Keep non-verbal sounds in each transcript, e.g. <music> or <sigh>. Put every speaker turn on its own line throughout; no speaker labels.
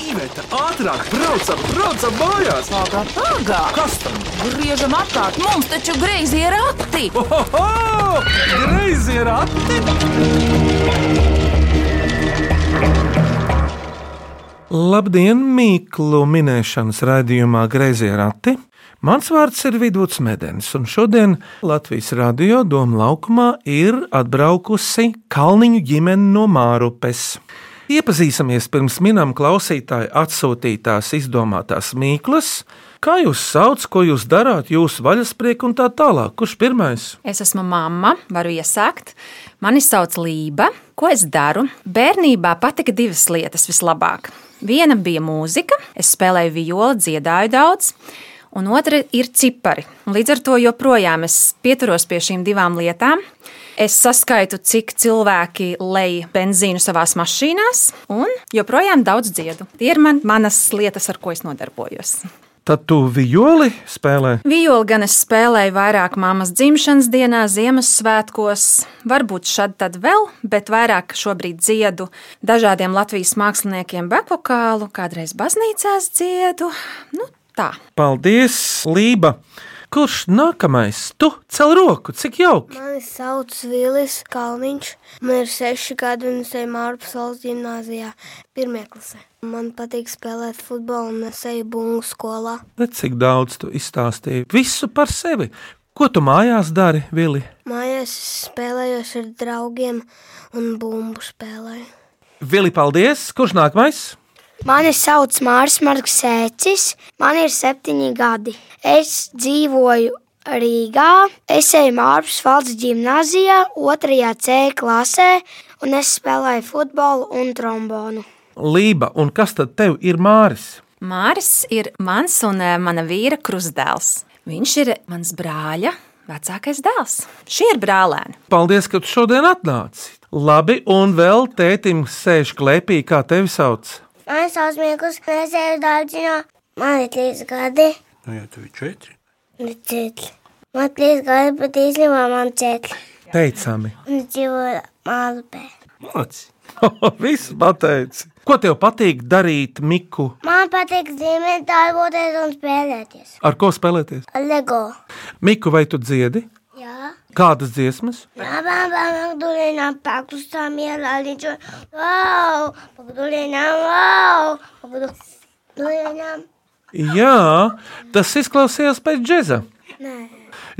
Iveta, ātrāk, braucam, braucam mājās!
Pagā, pagā!
Kas tam?
Griežam apkārt, mums taču greizi ir akti!
Ohoho! Greizi ir ati!
Labdien, Mīklu minēšanas raidījumā Greizie rati. Mans vārds ir Vidvuds Medens, un šodien Latvijas radio Doma laukumā ir atbraukusi Kalniņu ģimene no Mārupes. Iepazīsimies pirms minām klausītāju atsūtītās izdomātās mīklas, kā jūs sauc, ko jūs darāt, jūsu vaļasprieku un tā tālāk. Kurš pirmais?
Es esmu mamma, varu iesākt. Mani sauc Lība. Ko es daru? Bērnībā patika divas lietas vislabāk. Viena bija mūzika, es spēlēju violi, dziedāju daudz, un otra ir cipari. Līdz ar to joprojām es pieturos pie šīm divām lietām. Es saskaitu, cik cilvēki lej benzīnu savā mašīnās, un joprojām daudz dziedu. Tie ir man, manas lietas, ar ko es nodarbojos.
Tad tu violi spēlē.
Vijoli gan es spēlēju vairāk mammas dzimšanas dienā, Ziemassvētkos, varbūt šad tad vēl, bet vairāk šobrīd dziedu dažādiem Latvijas māksliniekiem bekvokālu, kādreiz baznīcās dziedu. Nu, tā.
Paldies, Lība! Kurš nākamais? Tu cel roku, cik jauki!
Mani sauc Vilis Kalniņš. Man ir seši gadi un es eju Mārpas valsts gimnājā, pirmie klasē. Man patīk spēlēt futbolu un es eju bungu skolā.
Bet cik daudz tu izstāstīji visu par sevi? Ko tu mājās dari, Vili?
Mājās es spēlējos ar draugiem un bumbu spēlēju.
Vili, paldies! Kurš nākamais?
Mani sauc Mārcis Kalniņš, Sēcis. Man ir septiņi gadi. Es dzīvoju Rīgā. Es eju Mārcis Kalniņš gimnazijā, otrajā C klasē, un es spēlēju futbolu un trombonu.
Lība, un kas tad tev ir Māris?
Māris ir mans un eh, mana vīra krustdēls. Viņš ir mans brāļa vecākais dēls. Šie ir brālēni.
Paldies, ka tu šodien atnāci! Labi, un vēl tētim sēž klēpī, kā tevi sauc.
Man ir savs mīklis, es eju dārziņā. Man ir trīs gadi.
Nu, ja tev ir četri,
Man ir četri. Man ir trīs gadi, bet īstenībā man ir četri.
Teicami,
Un es dzīvoju Mālupē.
māci.
<laughs> viss pateici. Ko tev patīk darīt, Miku?
Man patīk zīmēt, darboties un spēlēties.
Ar ko spēlēties?
Lego.
Miku, vai tu dziedi?
Jā.
Kādas dziesmas?
Labām pakaļdurinām, pakustām ielādiņš. Wow! Pakaļdurinām, wow! Pakaļdurinām.
Jā, tas izklausījās pēc džēza.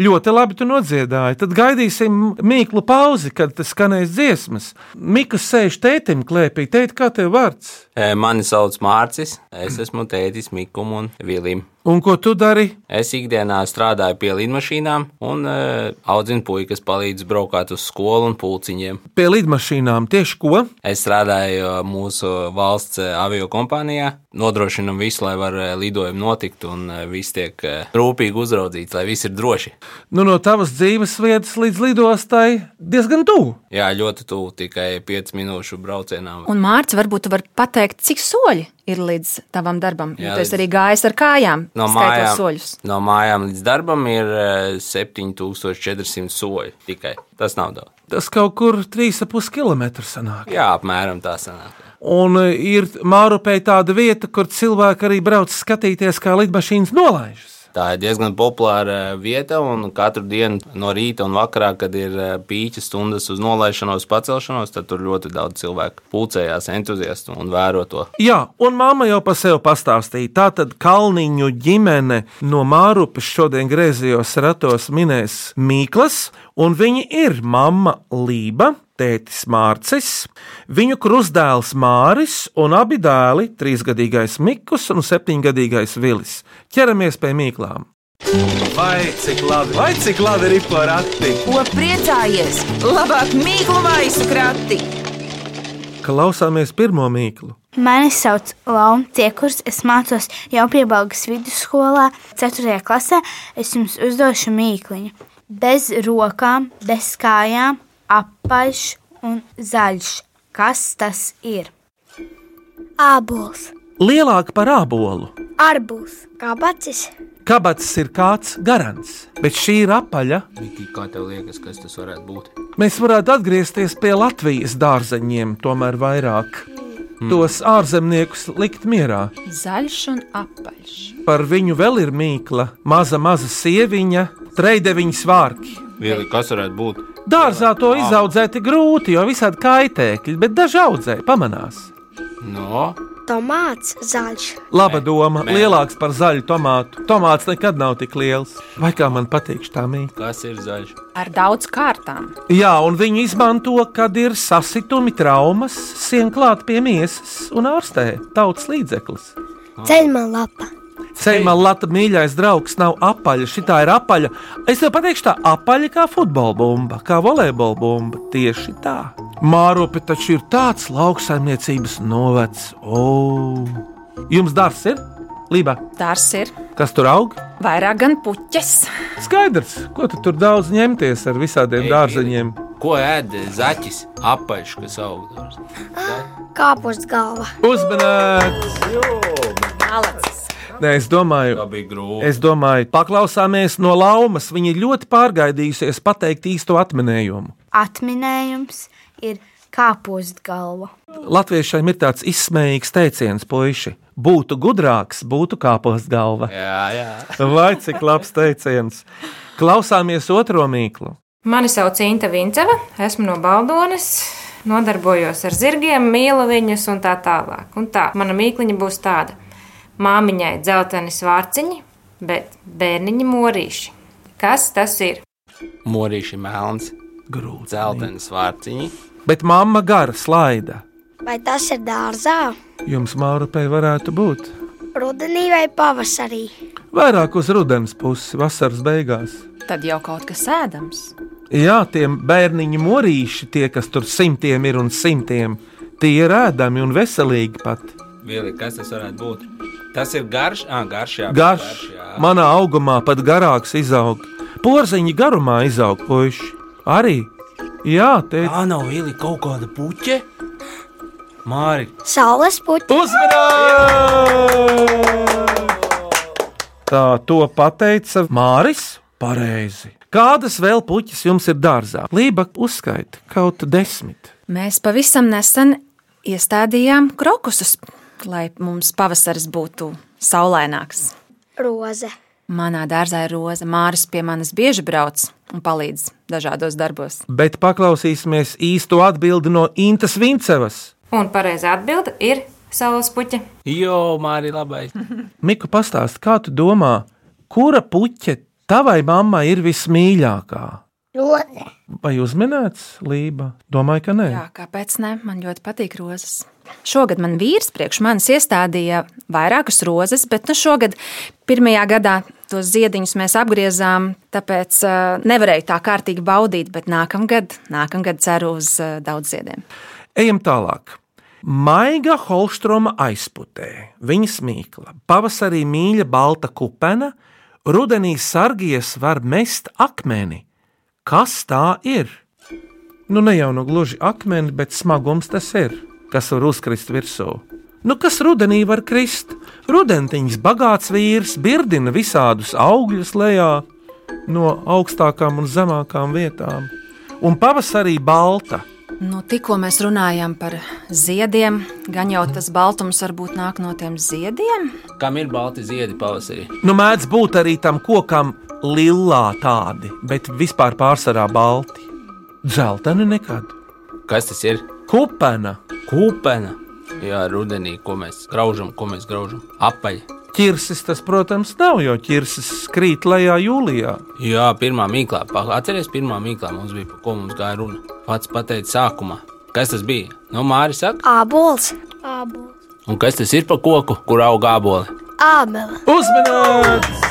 Ļoti labi tu nodziedāji. Tad gaidīsim mīklu pauzi, kad tas skanēs dziesmas. Mikas sēž tētim klēpī, teikt, kā tev vārds.
E, Mani sauc Mārcis, es esmu tētis Mikum un Vilim.
Un ko tu dari?
Es ikdienā strādāju pie lidmašīnām un e, audzinu puikas palīdz braukāt uz skolu un pulciņiem.
Pie lidmašīnām tieši ko?
Es strādāju e, mūsu valsts e, avio kompānijā, nodrošinam visu, lai var e, lidojumi notikt un e, viss tiek e, rūpīgi uzraudzīts, lai viss ir droši.
Nu, no tavas dzīves vietas līdz lidostai diezgan tuvu.
Jā, ļoti tuvu tikai 5 minūšu braucienām.
Un Mārcis, varbūt tu vari pateikt, cik soļi ir līdz tavam darbam?
Jā,
Jā, jo tu esi
līdz-
arī gājis ar kājām,
No
skaitot
mājām,
soļus.
no mājām līdz darbam ir e, 7400 soļi tikai. Tas nav daudz.
Tas kaut kur 3,5 km sanāk.
Jā, apmēram tā sanāk.
Un e, ir Mārupē tāda vieta, kur cilvēki arī brauc skatīties, kā lidmašīnas nolaižas.
Tā ir diezgan populāra eh, vieta, un katru dienu no rīta un vakarā, kad ir eh, pīķa stundas uz nolaišanos, pacelšanos, tad tur ļoti daudz cilvēku pulcējās, entuziastu un vēro to.
Jā, un māma jau par sevi pastāstīja. Tā tad Kalniņu ģimene no Mārupas šodien griezījos ratos minēs Mīklas, un viņi ir mamma Lība. Tētis Mārcis, viņu krustdēls Māris un abi dēli - trīsgadīgais Mikls un septiņgadīgais Vilis. Ķeramies pie mīklām.
Vai cik labi, vai cik labi ir par ati!
Ko priecājies? Labāk mīklu maisu krati!
Klausāmies pirmo mīklu.
Mani sauc Launa Ciekurs, es mācos jau piebalgas vidusskolā, 4. klasē. Es jums uzdošu mīkliņu. Bez rokām, bez kājām, apaļš un zaļš. Kas tas ir?
Ābols,
Lielāk par ābolu.
arbūs, kabacis,
Kabats ir kāds garants, bet šī ir apaļa
Kā tev liekas, kas tas varētu būt?
Mēs varētu atgriezties pie Latvijas dārzeņiem, tomēr vairāk.
Hmm.
tos ārzemniekus likt mierā.
Zaļš un apaļš.
Par viņu vēl ir mīkla, maza, maza sieviņa, treideviņas vārki.
Ir, kas varētu būt?
Dārzā to izaudzēt ir grūti, jo visādi kaitēkļi, bet daži audzēji pamanās.
No,
Tomāts zaļš.
Laba doma,
mē.
lielāks par zaļu tomātu. Tomāts nekad nav tik liels. Vai kā man patīk tā mīkla?
kas ir zaļš?
Ar daudz kārtām.
Jā, un viņi izmanto, kad ir sasitumi, traumas, sien klāt pie miesas un ārstē tautas līdzeklis.
Ceļma lapa.
Ceļā Latvijas mīļākais draugs nav apaļš, šitā ir apaļa. Es tev pateikšu, tā apaļa kā futbola bumba, kā volejbola bumba. Tieši tā. Māropi taču ir tāds lauksaimniecības novads. O! Jums dārsts ir? Lība,
Dārs ir
kas tur aug?
vairāk gan puķis.
Skaidrs, ko tu tur daudz ņemties ar visādiem
Ei,
dārzeņiem.
Ko ēd eh, zaķis? Apaļš, kas aug.
Kāpos galva.
Uzmanīgs!
Malacis.
Nē, es
Tā
domāju,
bija grūti.
Es domāju, paklausāmies no laumas. Viņa ir ļoti pārgaidījusies pateikt īsto atminējumu.
Atminējums ir kāpostu galva.
Latviešiem ir tāds izsmējīgs teiciens, puiši. Būtu gudrāks, būtu kāpos galva.
Jā, jā.
Vai cik labs teiciens? Klausāmies otro mīklu.
Mani sauc Inta Vinceva, esmu no Baldonas, nodarbojos ar zirgiem, mīlu viņus un tā tālāk. Un tā, mana mīkliņa būs tāda. Māmiņai dzelteni svārciņi, bet bērniņi morīši. Kas tas ir?
Morīši melns,
Grūts.
dzeltens vārciņi.
Bet mamma gara slaida.
Vai tas ir dārzā?
Jums mārupai varētu būt.
Rudenī vai pavasarī?
Vairāk uz rudens pusi, vasaras beigās.
Tad jau kaut kas ēdams.
Jā, tiem bērniņi morīši, tie, kas tur simtiem ir un simtiem, tie ir ēdami un veselīgi pat.
Vili, kas tas varētu būt? Tas ir garš, ah, garš, jā.
Garš,
jā.
manā augumā pat garāks izaug. Porziņa garumā izaug puiši. Arī. Jā, teikt,
Tā nav īri kaut kāda puķe. Māri,
Saules puķis.
uzmanīgi! Tā to pateica Māris. Pareizi. Kādas vēl puķis jums ir dārzā? Lība uzskaita kaut desmit.
Mēs pavisam nesen iestādījām krokusus, lai mums pavasaris būtu saulaināks.
Roze.
Manā dārzā ir roza. Māris pie manis bieži brauc un palīdz dažādos darbos.
Bet paklausīsimies īsto atbildi no Intas Vincevas.
Un pareizā atbilde ir saules puķa.
Jo, Māri, labais.
Miku, pastāst, kā tu domā, kura puķe tavai mammai ir vismīļākā?
Roze.
Vai uzminēts Lība? Domāju, ka nē.
Jā, kāpēc ne? Man ļoti patīk rozes. Šogad man vīrs priekš manis iestādīja vairākas rozes, bet nu šogad pirmajā gadā tos ziediņus mēs apgriezām, tāpēc eh, nevarēju tā kārtīgi baudīt, bet nākamgad, nākamgad ceru uz eh, daudz ziediem.
Ejam tālāk. Maiga Holstroma aizputē, viņa smīkla, pavasarī mīļa balta kupena, rudenī sargies var mest akmeni. Kas tā ir? Nu, ne jau no gluži akmeni, bet smagums tas ir, kas var uzkrist virsū. Nu, kas rudenī var krist? Rudentiņš bagāts vīrs birdina visādus augļus lejā no augstākām un zemākām vietām, un pavasarī balta.
Nu, tikko mēs runājām par ziediem, gan jau tas baltums varbūt nāk no tiem ziediem.
Kam ir balti ziedi pavasarī?
Nu, mēdz būt arī tam kokam lilā tādi, bet vispār pārsvarā balti. Zeltaini nekad.
Kas tas ir?
Kupena,
Kūpena. Jā, rudenī, ko mēs graužam, ko mēs graužam. Apaļ.
ķirsis tas, protams, nav, jo ķirsis krīt lejā jūlijā.
Jā, pirmā mīklā. Pa- Atceries, pirmā mīklā mums bija, par ko mums gāja runa. Pats pateica sākumā. Kas tas bija? No Māri saka.
Abols.
Abols.
Un kas tas ir par koku, kur aug āboli?
Ābele.
Uzmanīgs!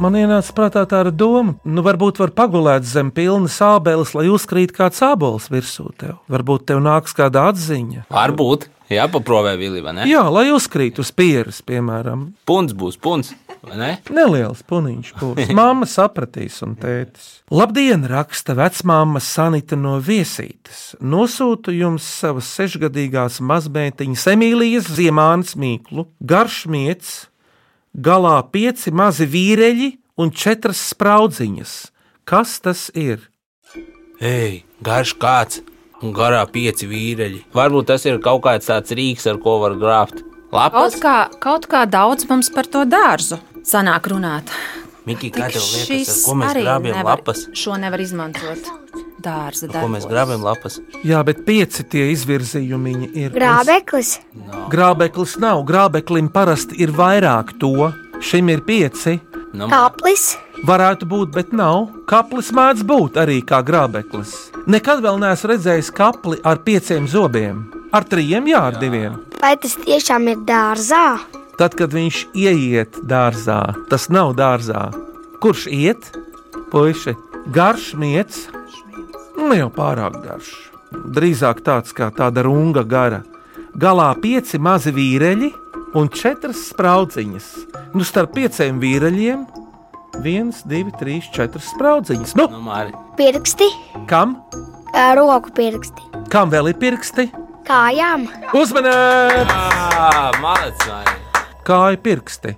Man ienāca prātā tāda doma, nu, varbūt var pagulēt zem pilna sābeles, lai uzkrīt kāds sābols virsū tev. Varbūt tev nāks kāda atziņa.
Varbūt. Jā, paprovē vilī, vai ne?
Jā, lai uzkrīt uz pieres, piemēram,
Punts būs, punts, vai ne?
Neliels puniņš būs. Māma sapratīs, un tētis. Labdien, raksta vecmāma Sanita no viesītes. Nosūtu jums savas sešgadīgās mazmeitiņas Emīlijas Ziemānas mīklu, garšmietis, galā pieci mazi vīreļi un četras spraudziņas. Kas tas ir?
Ei, garš kāds!
un garā pieci vīreļi.
Varbūt tas ir kaut kāds tāds rīks, ar ko var grābt.
Kaut
Lapas?
kā, kaut kā daudz mums par to dārzu sanāk runāt.
Mikī,
Tik
kā tev liekas, ar
šis
ko mēs
arī
grābjam
nevar,
lapas?
Šo nevar izmantot dārza
Ar Ko mēs
darbā.
grābjam lapas?
Jā, bet pieci tie izvirzījumi ir.
Grābeklis,
Grābeklis nav. Grābeklim parasti ir vairāk to. Šim ir pieci.
Nu,
kāplis,
Varētu būt, bet nav. Kaplis mēdz būt arī kā grābeklis. Nekad vēl neesmu redzējis kapli ar pieciem zobiem. Ar trījiem, jā, ar diviem.
vai tas tiešām ir dārzā?
Tad, kad viņš ieiet dārzā, tas nav dārzā. Kurš iet? Puisi, garš mietis. Ne jau pārāk garš. Drīzāk tāds kā tāda runga gara. Galā pieci mazi vīreļi un četras spraudziņas. Nu, starp pieciem vīreļiem viens, divi, trīs, četras spraudziņas. Nu,
nu Māri,
Pirksti,
kam?
ā, roku pirksti,
Kam vēl ir pirksti?
kājām,
Uzmanīt!
Ā, malac, Māri.
Kāja pirksti!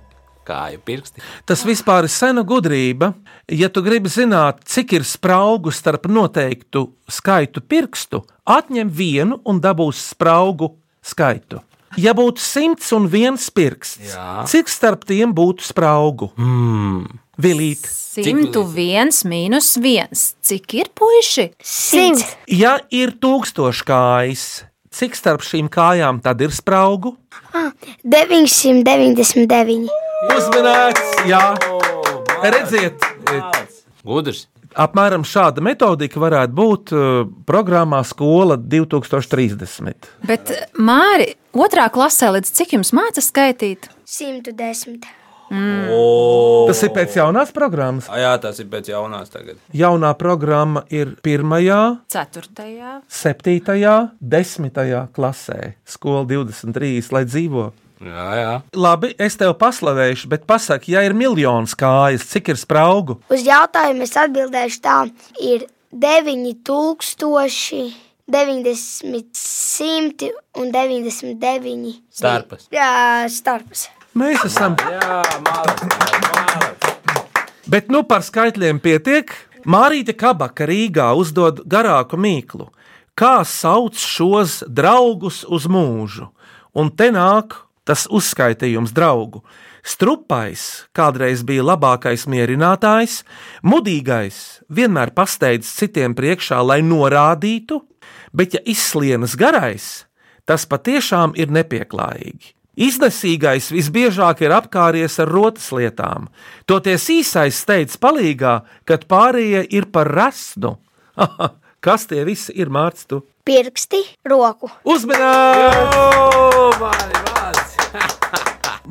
Kāju pirksti.
Tas vispār ir sena gudrība. Ja tu gribi zināt, cik ir spraugu starp noteiktu skaitu pirkstu, atņem vienu un dabūs spraugu skaitu. Ja būtu 101 pirksts,
Jā.
cik starp tiem būtu spraugu? Mm. Vilīt,
101 mīnus 1. Cik ir puiši?
simts,
ja ir tūkstoš kājas, cik starp šīm kājām tad ir spraugu?
999.
Uzmanīts, jā, redziet!
Gudrs.
Apmēram tāda metodika varētu būt uh, programmā Skola 2030.
Bet, Māri, otrā klasē līdz cik jums māca skaitīt?
110.
O,
Tas ir pēc jaunās programmas.
Ā, Jā, tas ir pēc jaunās tagad.
Jaunā programma ir 1.,
Ceturtajā.
7., 10. klasē, skola 23, lai dzīvo.
Jā, jā.
Labi, es tev paslavēšu, bet pasaki, ja ir miljons kājas, cik ir spraugu?
Uz jautājumu es atbildēšu tā, ir 9000, 90, 100 un 99.
Starpas.
Jā, starps.
Mēs esam.
Jā, malac.
Bet nu par skaitļiem pietiek. Mārīte Kabaka Rīgā uzdod garāku mīklu. Kā sauc šos draugus uz mūžu? Un te nāk tas uzskaitījums draugu. Strupais kādreiz bija labākais mierinātājs, mudīgais vienmēr pasteidz citiem priekšā, lai norādītu, bet ja izslienas garais, Tas patiešām ir nepieklājīgi. Iznesīgais visbiežāk ir apkāries ar rotas lietām, toties īsais steidz palīgā, kad pārējie ir par rasnu. <laughs> Kas tie visi ir mārciņu?
Pirksti, roku.
Uzmanīgi!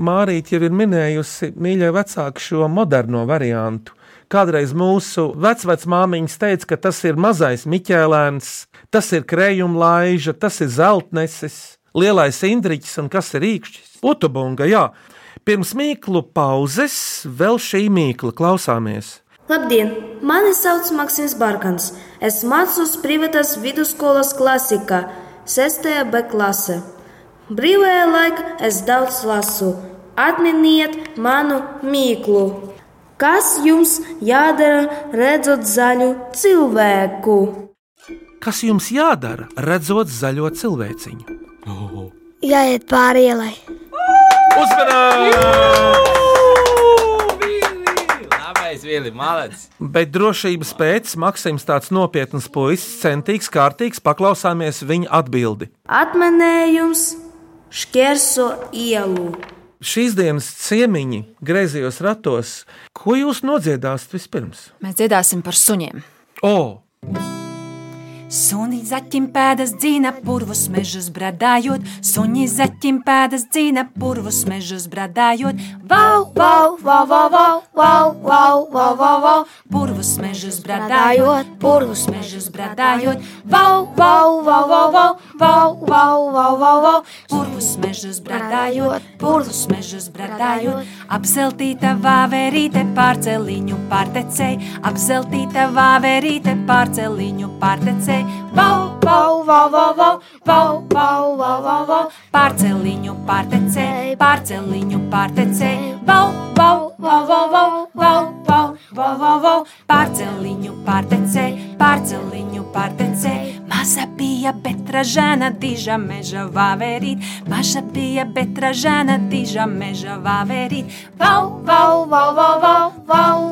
Mārīt jau ir minējusi mīļai vecāku šo moderno variantu. Kādreiz mūsu vecmāmiņa teica, ka tas ir mazais miķēlēns, tas ir krējuma laiža, tas ir zeltnesis, lielais indriķis un kas ir īkšķis. Utubunga, jā. Pirms mīklu pauzes vēl šī mīkla klausāmies.
Labdien! Mani sauc Maksims Barkans. Es mācos privātās vidusskolas klasikā, 6. B klasē. Brīvajā laikā es daudz lasu. Atminiet manu mīklu. Kas jums jādara, redzot zaļu cilvēku?
Kas jums jādara, redzot zaļo cilvēciņu?
Jāiet pāri ielai.
Labais vieli, malac.
Bet drošības pēc Maksims tāds nopietns puisis, centīgs, kārtīgs, paklausāmies viņa atbildi.
Atminējums šķērso ielu.
Šīs dienas ciemiņi griezījos ratos, ko jūs nodziedāsiet vispirms?
Mēs dziedāsim par suņiem.
O,
Suņi zaķim pēdas dzīna purvus mežus bradājot, suņi zaķim pēdas dzīna purvus mežus bradājot, vau, vau,
Vau, vau, vau, vau, vau, vau, vau, vau, vau.
purvus mežus bradājot,
Bradājot, purvus
mežus bradājot,
Vau, vau, vau, vau, vau, vau, vau, vau, vau, vau.
purvus mežus bradājot, purvus mežus bradājot, apzeltīta vāverīte pārceliņu pārtecei, apzeltīta vāverīte pārceliņu pārtecei, vau,
Vau, vau, vau, vau, vau, vau, vau, vau, vau.
Pārceliņu pārtecēji, pārceliņu pārtecēji, vau, vau, vau, vau, vau, vau, vau, vau, vau, vau. Pārceliņu pārtecēji, pārceliņu pārtecēji, maz
Maša bija betra žena, diža meža vaverit. Maša bija betra žena, diža meža vaverit. Vau, vau, vau, vau, vau, vau, vau,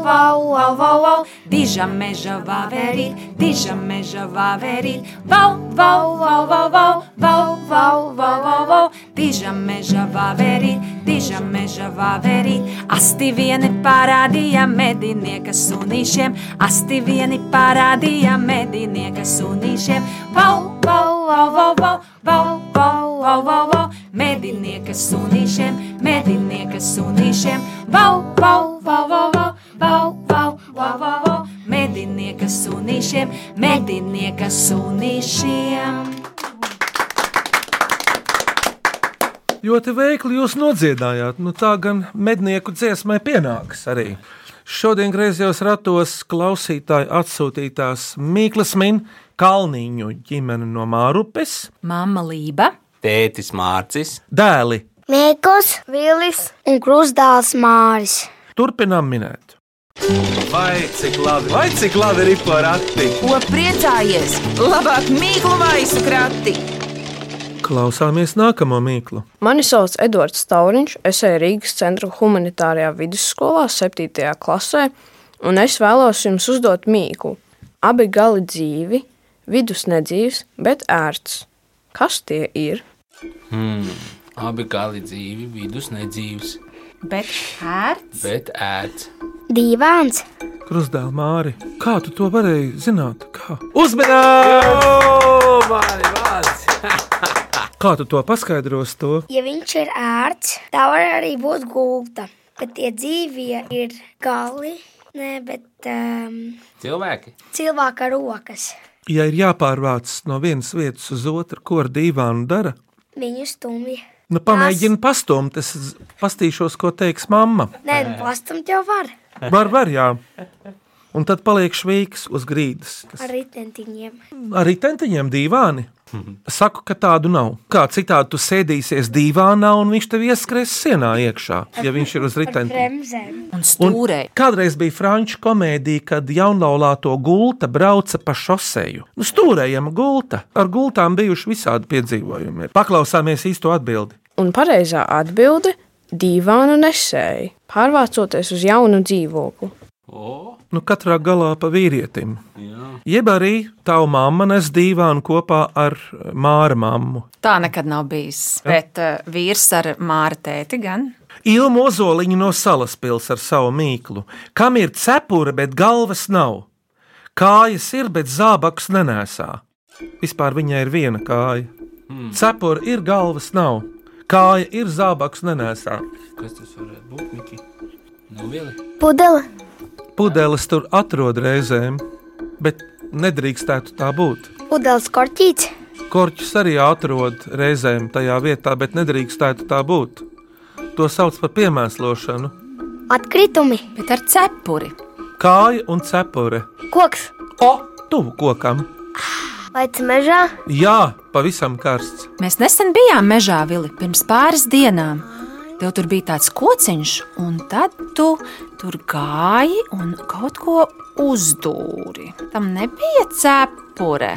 vau, vau, vau. Diža meža vaverit, diža meža vaverit. Vau, vau, vau, vau, vau, vau, vau, vau, vau, vau. Diža meža vaverit, diža meža vaverit. Asti vieni parādīja medinieka sunīšiem, asti vieni parādīja medinieka sunīšiem. Vau, vau, vau, vau, vau, vau, vau, vau, vau, vau. Medinieka sunīšiem, medinieka sunīšiem. Vau, vau, vau, vau, vau, vau, vau, vau, vau, vau. Medinieka sunīšiem, medinieka sunīšiem.
Ļoti veikli jūs nodziedājāt. Nu, tā gan mednieku dziesmai pienāks arī. Šodien griezījos ratos klausītāju atsūtītās Mīklas Min, Kalniņu ģimene no Mārupes,
Māma Lība,
Tētis Mārcis,
dēli.
Mikls, Vilis un Krustdāls Māris.
Turpinām minēt.
Vai cik labi, vai cik labi ir porakti?
Ko priecājies? Labāk mīklu maisu krati!
Klausāmies nākamo mīklu.
Mani sauc Edvards Stauriņš, es eju Rīgas centra humanitārajā vidusskolā, 7. klasē, un es vēlos jums uzdot mīklu. Abi gali dzīvi, vidus nedzīvs, bet ērts. Kas tie ir?
Hmm. Abi gali dzīvi, vidus nedzīvs,
Bet ērts.
bet ēts.
Dīvāns,
Krustdēl Māri, kā tu to varēji zināt? Kā,
Uzmanību! Mani vārds!
kā tu to paskaidros? To?
ja viņš ir ērts, tā var arī būt gulta. Bet tie dzīvie ir gali, ne, bet um,
Cilvēki!
cilvēka rokas.
Ja ir jāpārvāc no vienas vietas uz otru, ko ar dīvānu dara,
Viņu stumbi.
nu pamēģini pastumt, es z- pastīšos, ko teiks mamma.
Nē, nu, pastumt jau var
Var, var, jā. Un tad paliek švīks uz grīdas.
ar ritentiņiem.
Arī tentiņiem dīvāni. Saku, ka tādu nav. Kā citādi tu sēdīsies dīvānā un viņš tev ieskrēs sienā iekšā, ja viņš ir uz ritentiņa.
Bremzēm.
Un
Un
stūrē.
kādreiz bija franču komēdija, kad jaunlaulāto gulta brauca pa šoseju. Nu, stūrējama gulta. Ar gultām bijuši visādi piedzīvojumi. Paklausāmies īsto atbildi.
Un pareizā atbilde - divānu nesēji, pārvācoties uz jaunu dzīvokli.
O,
Nu, katrā galā pa vīrietim.
jā.
Jeb arī tavu mammu nes dīvānu kopā ar māra mammu.
Tā nekad nav bijis. Ja. Bet uh, vīrs ar māra tēti gan.
Ilmu Ozoliņu no salas pilsēta ar savu mīklu, kam ir cepura, bet galvas nav. Kājas ir, bet zābaks nenēsā. Vispār viņai ir viena kāja. Mm. Cepura ir, galvas nav. Kāja ir, zābaks nenēsā.
Kas tas varētu būt, Miki? Nu, vili.
Pudele,
Pudeles tur atrod reizēm, bet nedrīkstētu tā būt.
pudeles korķīts,
Korķus arī atrod reizēm tajā vietā, bet nedrīkstētu tā būt. To sauc par piemēslošanu.
atkritumi,
Bet ar cepuri.
Kāja un cepure.
koks
O, tuvu kokam!
vai mežā.
Jā, pavisam karsts.
Mēs nesen bijām mežā vili pirms pāris dienām. Tev tur bija tāds kociņš, un tad tu tur gāji un kaut ko uzdūri. Tam nebija cepure.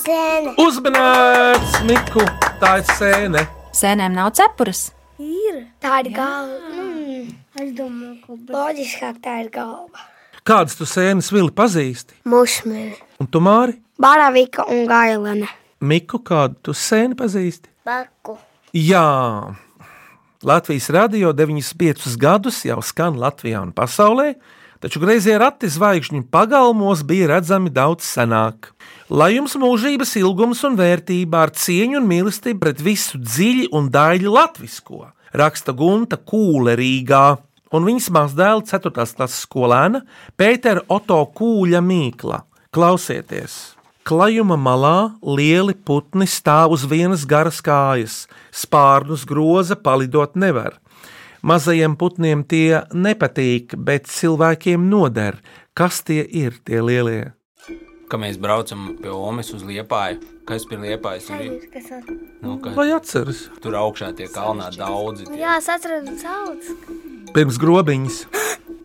Sēne,
Uzmanīts, Miku, tā ir sēne.
Sēnēm nav cepures.
ir. Tā ir galva. Mm. Es domāju, ka loģiskāk tā ir galva.
Kādas tu sēnes vili pazīsti?
Mušmēri.
Un tu māri,
Baravika un gailene.
Miku, kādu tu sēni pazīsti?
Baku.
Jā, Latvijas radio 95 gadus jau skan Latvijā un pasaulē, taču greizie rati zvaigžņu pagalmos bija redzami daudz senāk. Lai jums mūžības ilgums un vērtība ar cieņu un mīlestību pret visu dziļi un daļu latvisko, raksta Gunta Kūle Rīgā. Un viņas mazdēla 4. klases skolēna Pētera Oto Kūļa Mīkla. Klausieties! Klajuma malā lieli putni stāv uz vienas garas kājas, spārnus groza palidot nevar. Mazajiem putniem tie nepatīk, bet cilvēkiem noder, kas tie ir tie lielie.
Kad mēs braucam pie Omas uz Liepāju, kas pie Liepājas tur ir?
Kas at...
Nu, ka,
Vai atceras?
tur augšā tie kalnā daudzi. Tie.
Jā, es atradu sauc.
Pirms grobiņas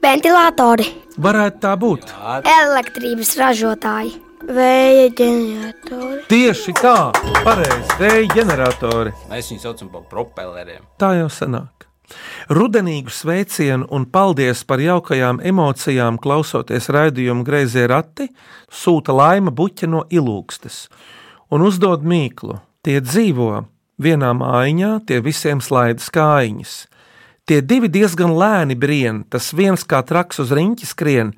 Ventilatori,
varētu tā būt.
Jā,
elektrības ražotāji,
Vēja ģeneratori.
Tieši tā, pareizi, vēja ģeneratori.
Mēs viņus saucam par propelleriem.
Tā jau sanāk. Rudenīgu sveicienu un paldies par jaukajām emocijām, klausoties raidījumu greizie rati, sūta laima buķa no ilūgstes un uzdod mīklu. Tie dzīvo vienā mājiņā, tie visiem slaidas kājiņas. Tie divi diezgan lēni brien, tas viens kā traks uz riņķa skrien,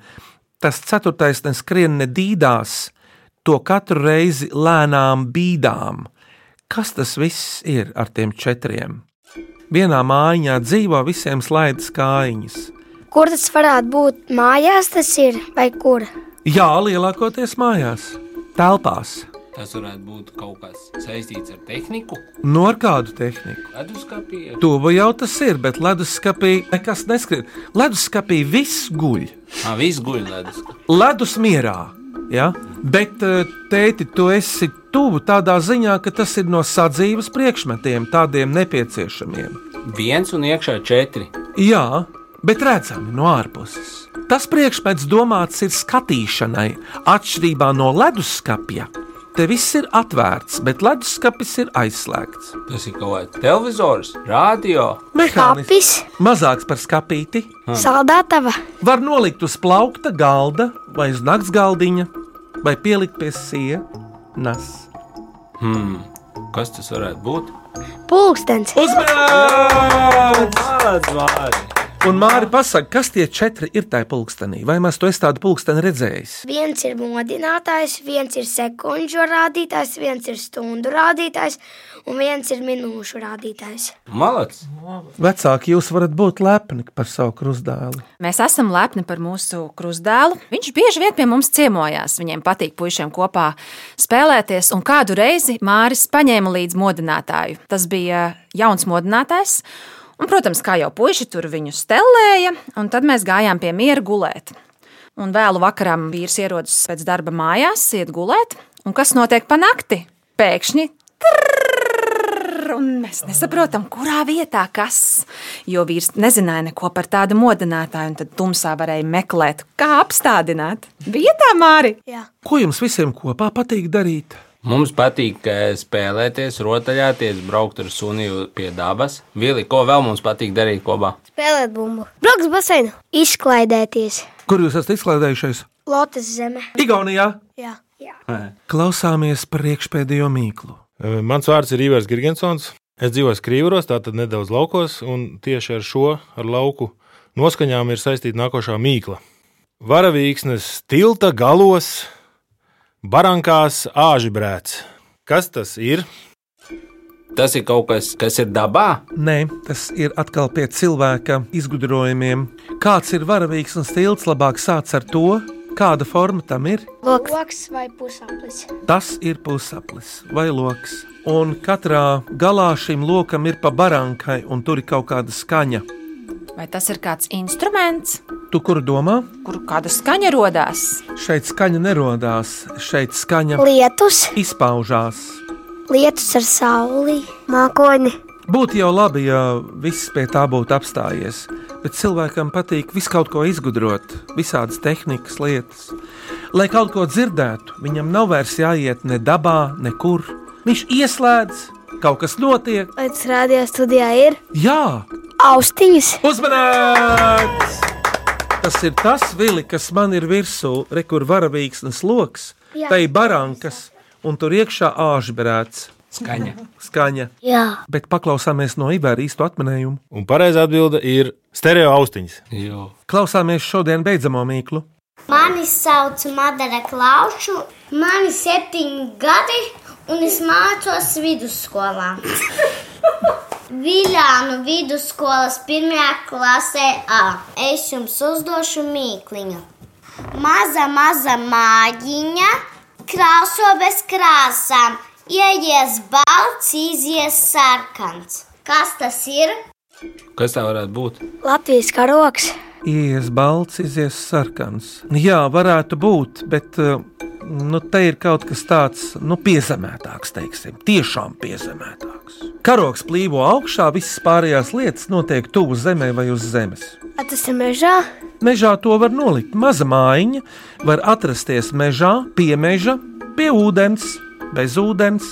tas ceturtais neskrien nedīdās, to katru reizi lēnām bīdām. Kas tas viss ir ar tiem četriem? Vienā mājiņā dzīvo visiem slaidas kājiņas.
Kur tas varētu būt? Mājās tas ir vai kur?
Jā, lielākoties mājās, telpās.
Tas varētu būt kaut kas saistīts ar tehniku,
No Nu, ar kādu tehniku?
leduskapī.
Tuvu jau tas ir, bet leduskapī nekas neskrien. Leduskapī viss guļ.
Ah, viss guļ leduskapī.
Ledus mierā. Ja? Bet, eh, tēti, tu esi tuvu tādā ziņā, ka tas ir no sadzīves priekšmetiem, tādiem nepieciešamiem.
Viens un iekšā četri.
Jā, bet redzami no ārpuses. Tas priekšmets domāts ir skatīšanai, atšķirībā no leduskapja. Te viss ir atvērts, bet leduskapis ir aizslēgts.
Tas ir kaut kāds televizors, radio.
Mehānisms mazāks par skāpīti.
Saldētava.
Var nolikt uz plaukta galda vai uz nakts galdiņa, vai pielikt pie sienas.
Hmm. Kas tas varētu būt?
Pulkstenis.
Uzmanības!
Vārdi.
Un Māri, pasaki, kas tie četri ir tajā pulkstenī? Vai mēs to esam tādu pulksteni redzējis?
Viens ir modinātājs, viens ir sekundžu rādītājs, viens ir stundu rādītājs un viens ir minūšu rādītājs.
Malacis.
Vecāki, jūs varat būt lepni par savu krustdēlu.
Mēs esam lepni par mūsu krustdēlu. Viņš bieži vien pie mums ciemojās. Viņiem patīk puišiem kopā spēlēties. Un kādu reizi Māris paņēma līdzi modinātāju. Tas bija jauns modinātājs. Un, protams, kā jau puiši tur viņu stelēja, un tad mēs gājām pie miera gulēt. Un vēlu vakarā vīrs ierodas pēc darba mājās, iet gulēt. Un kas notiek pa nakti? Pēkšņi Brrr, un mēs nesaprotam, kurā vietā kas. Jo vīrs nezināja neko par tādu modinātāju, un tad tumsā varēja meklēt, kā apstādināt. Vietā, Māri!
Jā.
Ko jums visiem kopā patīk darīt?
Mums patīk eh, spēlēties, rotaļāties, braukt ar sunīju pie dabas. Vili, ko vēl mums patīk darīt kopā?
Spēlēt bumbu. Brauks basēnu. Izklaidēties.
Kur jūs esat izklaidējušies?
Lotas zeme.
Igaunijā!
Jā.
Klausāmies priekšpēdējo mīklu.
Mans vārds ir Ivars Gigantsons. Es dzīvoju Krīvros, tātad nedaudz laukos, un tieši ar šo ar lauku noskaņām ir saistīta nākošā mīkla. Varavīksnes tilta galos, barankās āžibrēts. Kas tas ir?
Tas ir kaut kas, kas ir dabā.
Nē, tas ir atkal pie cilvēka izgudrojumiem. Kāds ir varavīgs un stils, labāk sāc ar to, kāda forma tam ir.
Loks. Loks vai pusaplis.
Tas ir pusaplis vai lokus. Un katrā galā šim lokam ir pa barankai, un tur ir kaut kāda skaņa.
Vai tas ir kāds instruments,
Tu kur domā?
kur kāda skaņa radās?
Šeit skaņa nerodās, šeit skaņa
Lietus.
izpaužās.
Lietus ar sauli. Mākoņi.
Būtu jau labi, ja viss pie tā būtu apstājies, bet cilvēkam patīk visu kaut ko izgudrot, visādas tehnikas lietas. Lai kaut ko dzirdētu, viņam nav vairs jāiet ne dabā, nekur. Viņš ieslēdz, kaut kas notiek.
Vai tas rādījā studijā ir?
Jā,
Austiņas.
uzmanīgs! Tas ir tas vili, kas man ir virsū, re, kur varavīksnes lokus,
Jā.
tai barankas, un tur iekšā āžbrēts.
Skaņa.
Skaņa.
Jā.
Bet paklausāmies no Ivēra īsto atminējumu.
Un pareizā atbilde ir stereo austiņas.
Jo.
Klausāmies šodien beidzamo mīklu.
Mani sauc Madara Klauču, man ir septiņi gadi, un es mācos <laughs> vidusskolā. Viljānu vidusskolas pirmajā klasē A. Es jums uzdošu mīkliņu. Maza, maza mājiņa, krāso bez krāsām, ieies balts, izies sarkans. Kas tas ir?
Kas tā varētu būt?
Latvijas karoks.
Ies balts, ies sarkans. Jā, varētu būt, bet eh, nu, te ir kaut kas tāds nu, piezemētāks, teiksim, tiešām piezemētāks. Karoks plīvo augšā, visas pārējās lietas notiek tuvu zemē vai uz zemes.
A, tas ir mežā.
Mežā to var nolikt. Maza mājiņa var atrasties mežā, pie meža, pie ūdens. bez ūdens.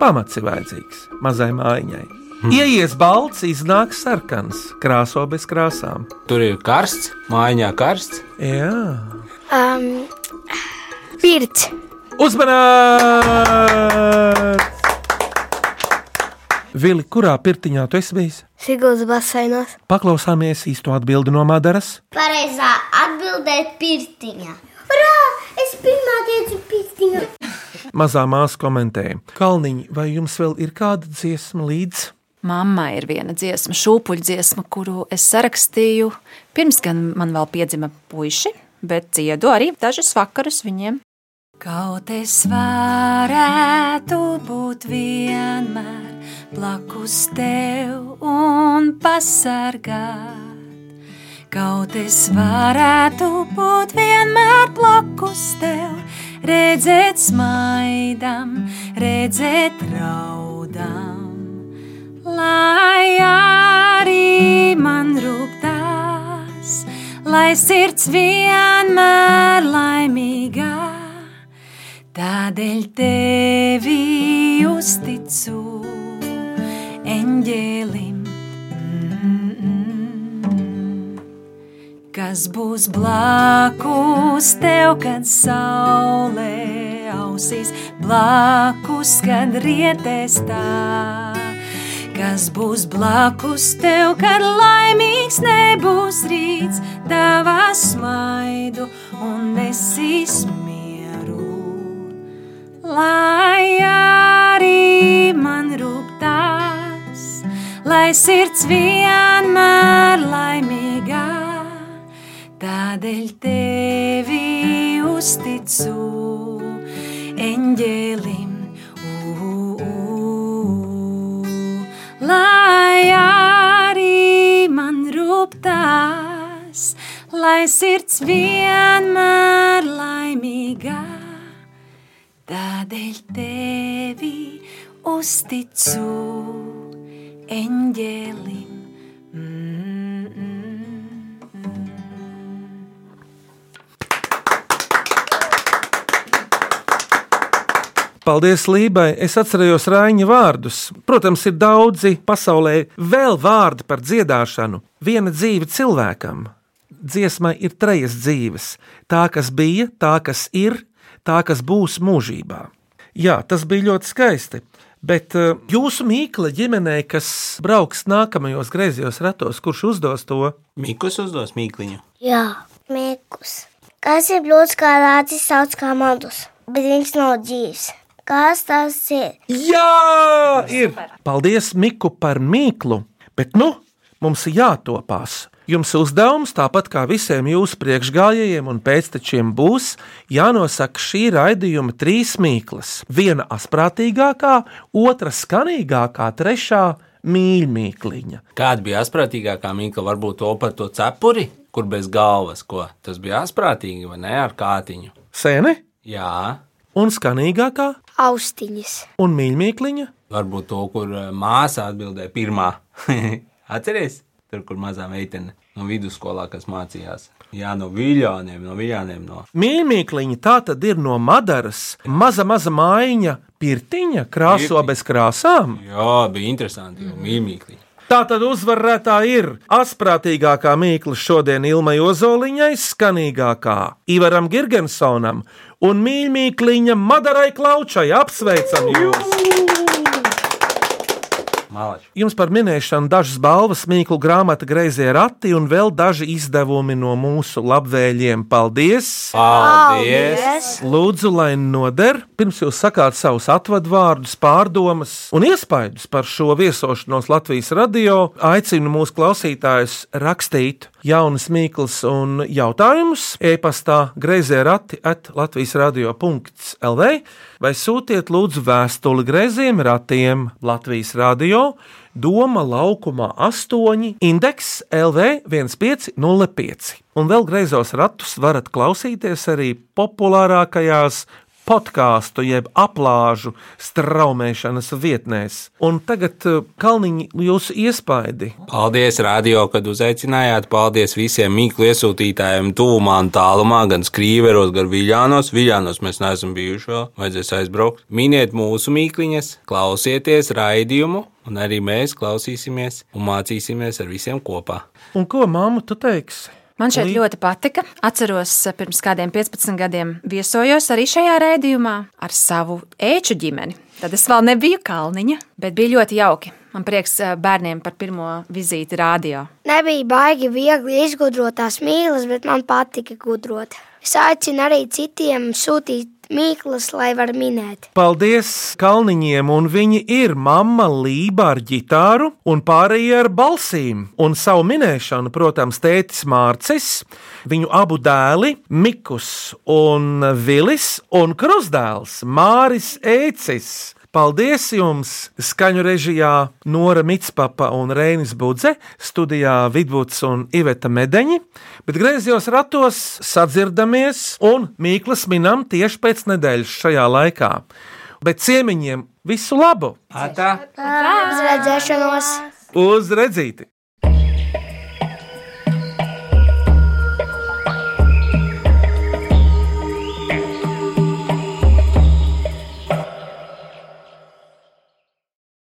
Pamats ir vajadzīgs mazai mājiņai. Ieies balts, iznāks sarkans, krāso bez krāsām.
Tur ir karsts, mājiņā karsts.
Jā,
Um, pirts.
uzmanīgs! Vili, kurā pirtiņā tu esi bijis?
Siglas basainos.
Paklausāmies īsto atbildi no Madaras.
Pareizā atbildēt pirtiņā. Urā! Es pirmā tiecu pirtiņā.
Mazā māsa komentēja, Kalniņa, vai jums vēl ir kāda dziesma līdzi?
Mamma ir viena dziesma, šūpuļdziesma, kuru es sarakstīju pirms gan man vēl piedzima puiši, bet dziedu arī dažus vakarus viņiem.
Kaut es varētu būt vienmēr blakus tev un pasargāt. Kaut es varētu būt vienmēr blakus tev, redzēt smaidam, redzēt raudam. Lai arī man rūp tās, lai sirds vienmēr laimīgāk. Tādēļ tevi uzticu eņģēlim, mm, mm. kas būs blakus tev, kad saule ausīs, blakus, kad rietēs tā. Kas būs blakus tev, kad laimīgs nebūs rīts, tavā smaidu un nesīs lai arī man rūp tās, lai sirds vienmēr laimīgā. Tādēļ tevi uzticu eņģēlim, u, u, u. lai arī man rūp tās, lai sirds vienmēr laimīgā. Tādēļ tevi uzticu eņģēlim.
Paldies Lībai! Es atceros Rāņa vārdus. Protams, ir daudzi pasaulē vēl vārdi par dziedāšanu. Viena dzīve cilvēkam. Dziesmai ir trejas dzīves - tā, kas bija, tā, kas ir, tā, kas būs mūžībā. Jā, tas bija ļoti skaisti. Bet eh, jūsu mīkla ģimenē, kas brauks nākamajos griezījos ratos, kurš uzdos to?
Mikus uzdos mīkliņu.
Jā, mīklis. Kas ir blūds, kā rācis sauc kā madus, bet viņš nav dzīves? Kas tas ir?
Jā, ir. Paldies, Miku, par mīklu. Bet nu, mums ir jātopās. Jums uzdevums, tāpat kā visiem jūsu priekšgājējiem un pēctečiem, būs jānosaka šī raidījuma trīs mīklas. Viena asprātīgākā, otra skanīgākā, trešā mīļmīkliņa.
Kāda bija asprātīgākā mīkla? Varbūt to par to cepuri, kur bez galvas, ko tas bija asprātīgi vai ne ar kātiņu.
Sēne
Jā,
un skanīgākā
Austiņas.
un mīļmīkliņa.
varbūt to, kur eh, māsa atbildēja pirmā. <laughs> Atcerieties, tur, kur mazā meitene no vidusskolā, kas mācījās. Jā, no viļņiem, no viļņiem. No.
Mīļmīkliņa tā tad ir no Madaras, maza, maza mājiņa, pirtiņa, krāso bez krāsām.
Jā, bija interesanti, jo mīmīkli.
Tā tad uzvarētā ir asprātīgākā mīkla šodien Ilmai Ozoliņai, skanīgākā Ivaram Girgensonam un mīļmīkliņa Madarai Klaučai. Apsveicam jūs!
Malači.
Jums par minēšanu dažas balvas, mīklu grāmata, grazē rati un vēl daži izdevumi no mūsu labvēlījiem. Paldies!
Paldies!
Lūdzu, lai noder, pirms jūs sakāt savus atvadvārdus, pārdomas un iespaidus par šo viesošanos Latvijas radio, aicinu mūsu klausītājus rakstīt jaunas mīklas un jautājumus e-pastā grazē rati at Latvijas radio.lv vai sūtiet lūdzu vēstuli grazējiem ratiem Latvijas radio. Doma laukumā 8, indeks LV 1505. Un vēl greizos ratus varat klausīties arī populārākajās podkāstu jeb aplāžu straumēšanas vietnēs. Un tagad, eh, Kalniņi, jūsu iespaidi.
Paldies, radio, kad uzaicinājāt. Paldies visiem mīklu iesūtītājiem, tūmā un tālumā, gan skrīveros, gan viļānos. Viļānos mēs neesam bijuši vēl, vajadzēs aizbraukt. Miniet mūsu mīkliņas, klausieties raidījumu, un arī mēs klausīsimies un mācīsimies ar visiem kopā.
Un ko māmu tu teiksi?
Man šeit ļoti patika. Atceros, eh, pirms kādiem 15 gadiem viesojos arī šajā rēdījumā ar savu ēču ģimeni. Tad es vēl nebiju kalniņa, bet bija ļoti jauki. Man prieks eh, bērniem par pirmo vizīti radio.
Nebija baigi viegli izgudrot tās mīklas, bet man patika gudrot. Es aicinu arī citiem sūtīt mīklas, lai var minēt.
Paldies Kalniņiem, un viņi ir mamma lība ar ģitāru un pārējie ar balsīm. Un savu minēšanu, protams, tētis Mārcis, viņu abu dēli Mikus un Vilis un krusdēls Māris Ēcis. Paldies jums! Skaņu režijā Nora Mitspapa un Reinis Budze, studijā Vidvuds un Iveta Medeņi, bet griezījos ratos, sadzirdamies un mīklas minam tieši pēc nedēļas šajā laikā. Bet ciemiņiem visu labu!
Atā.
Uz redzēšanos!
Uz redzīti!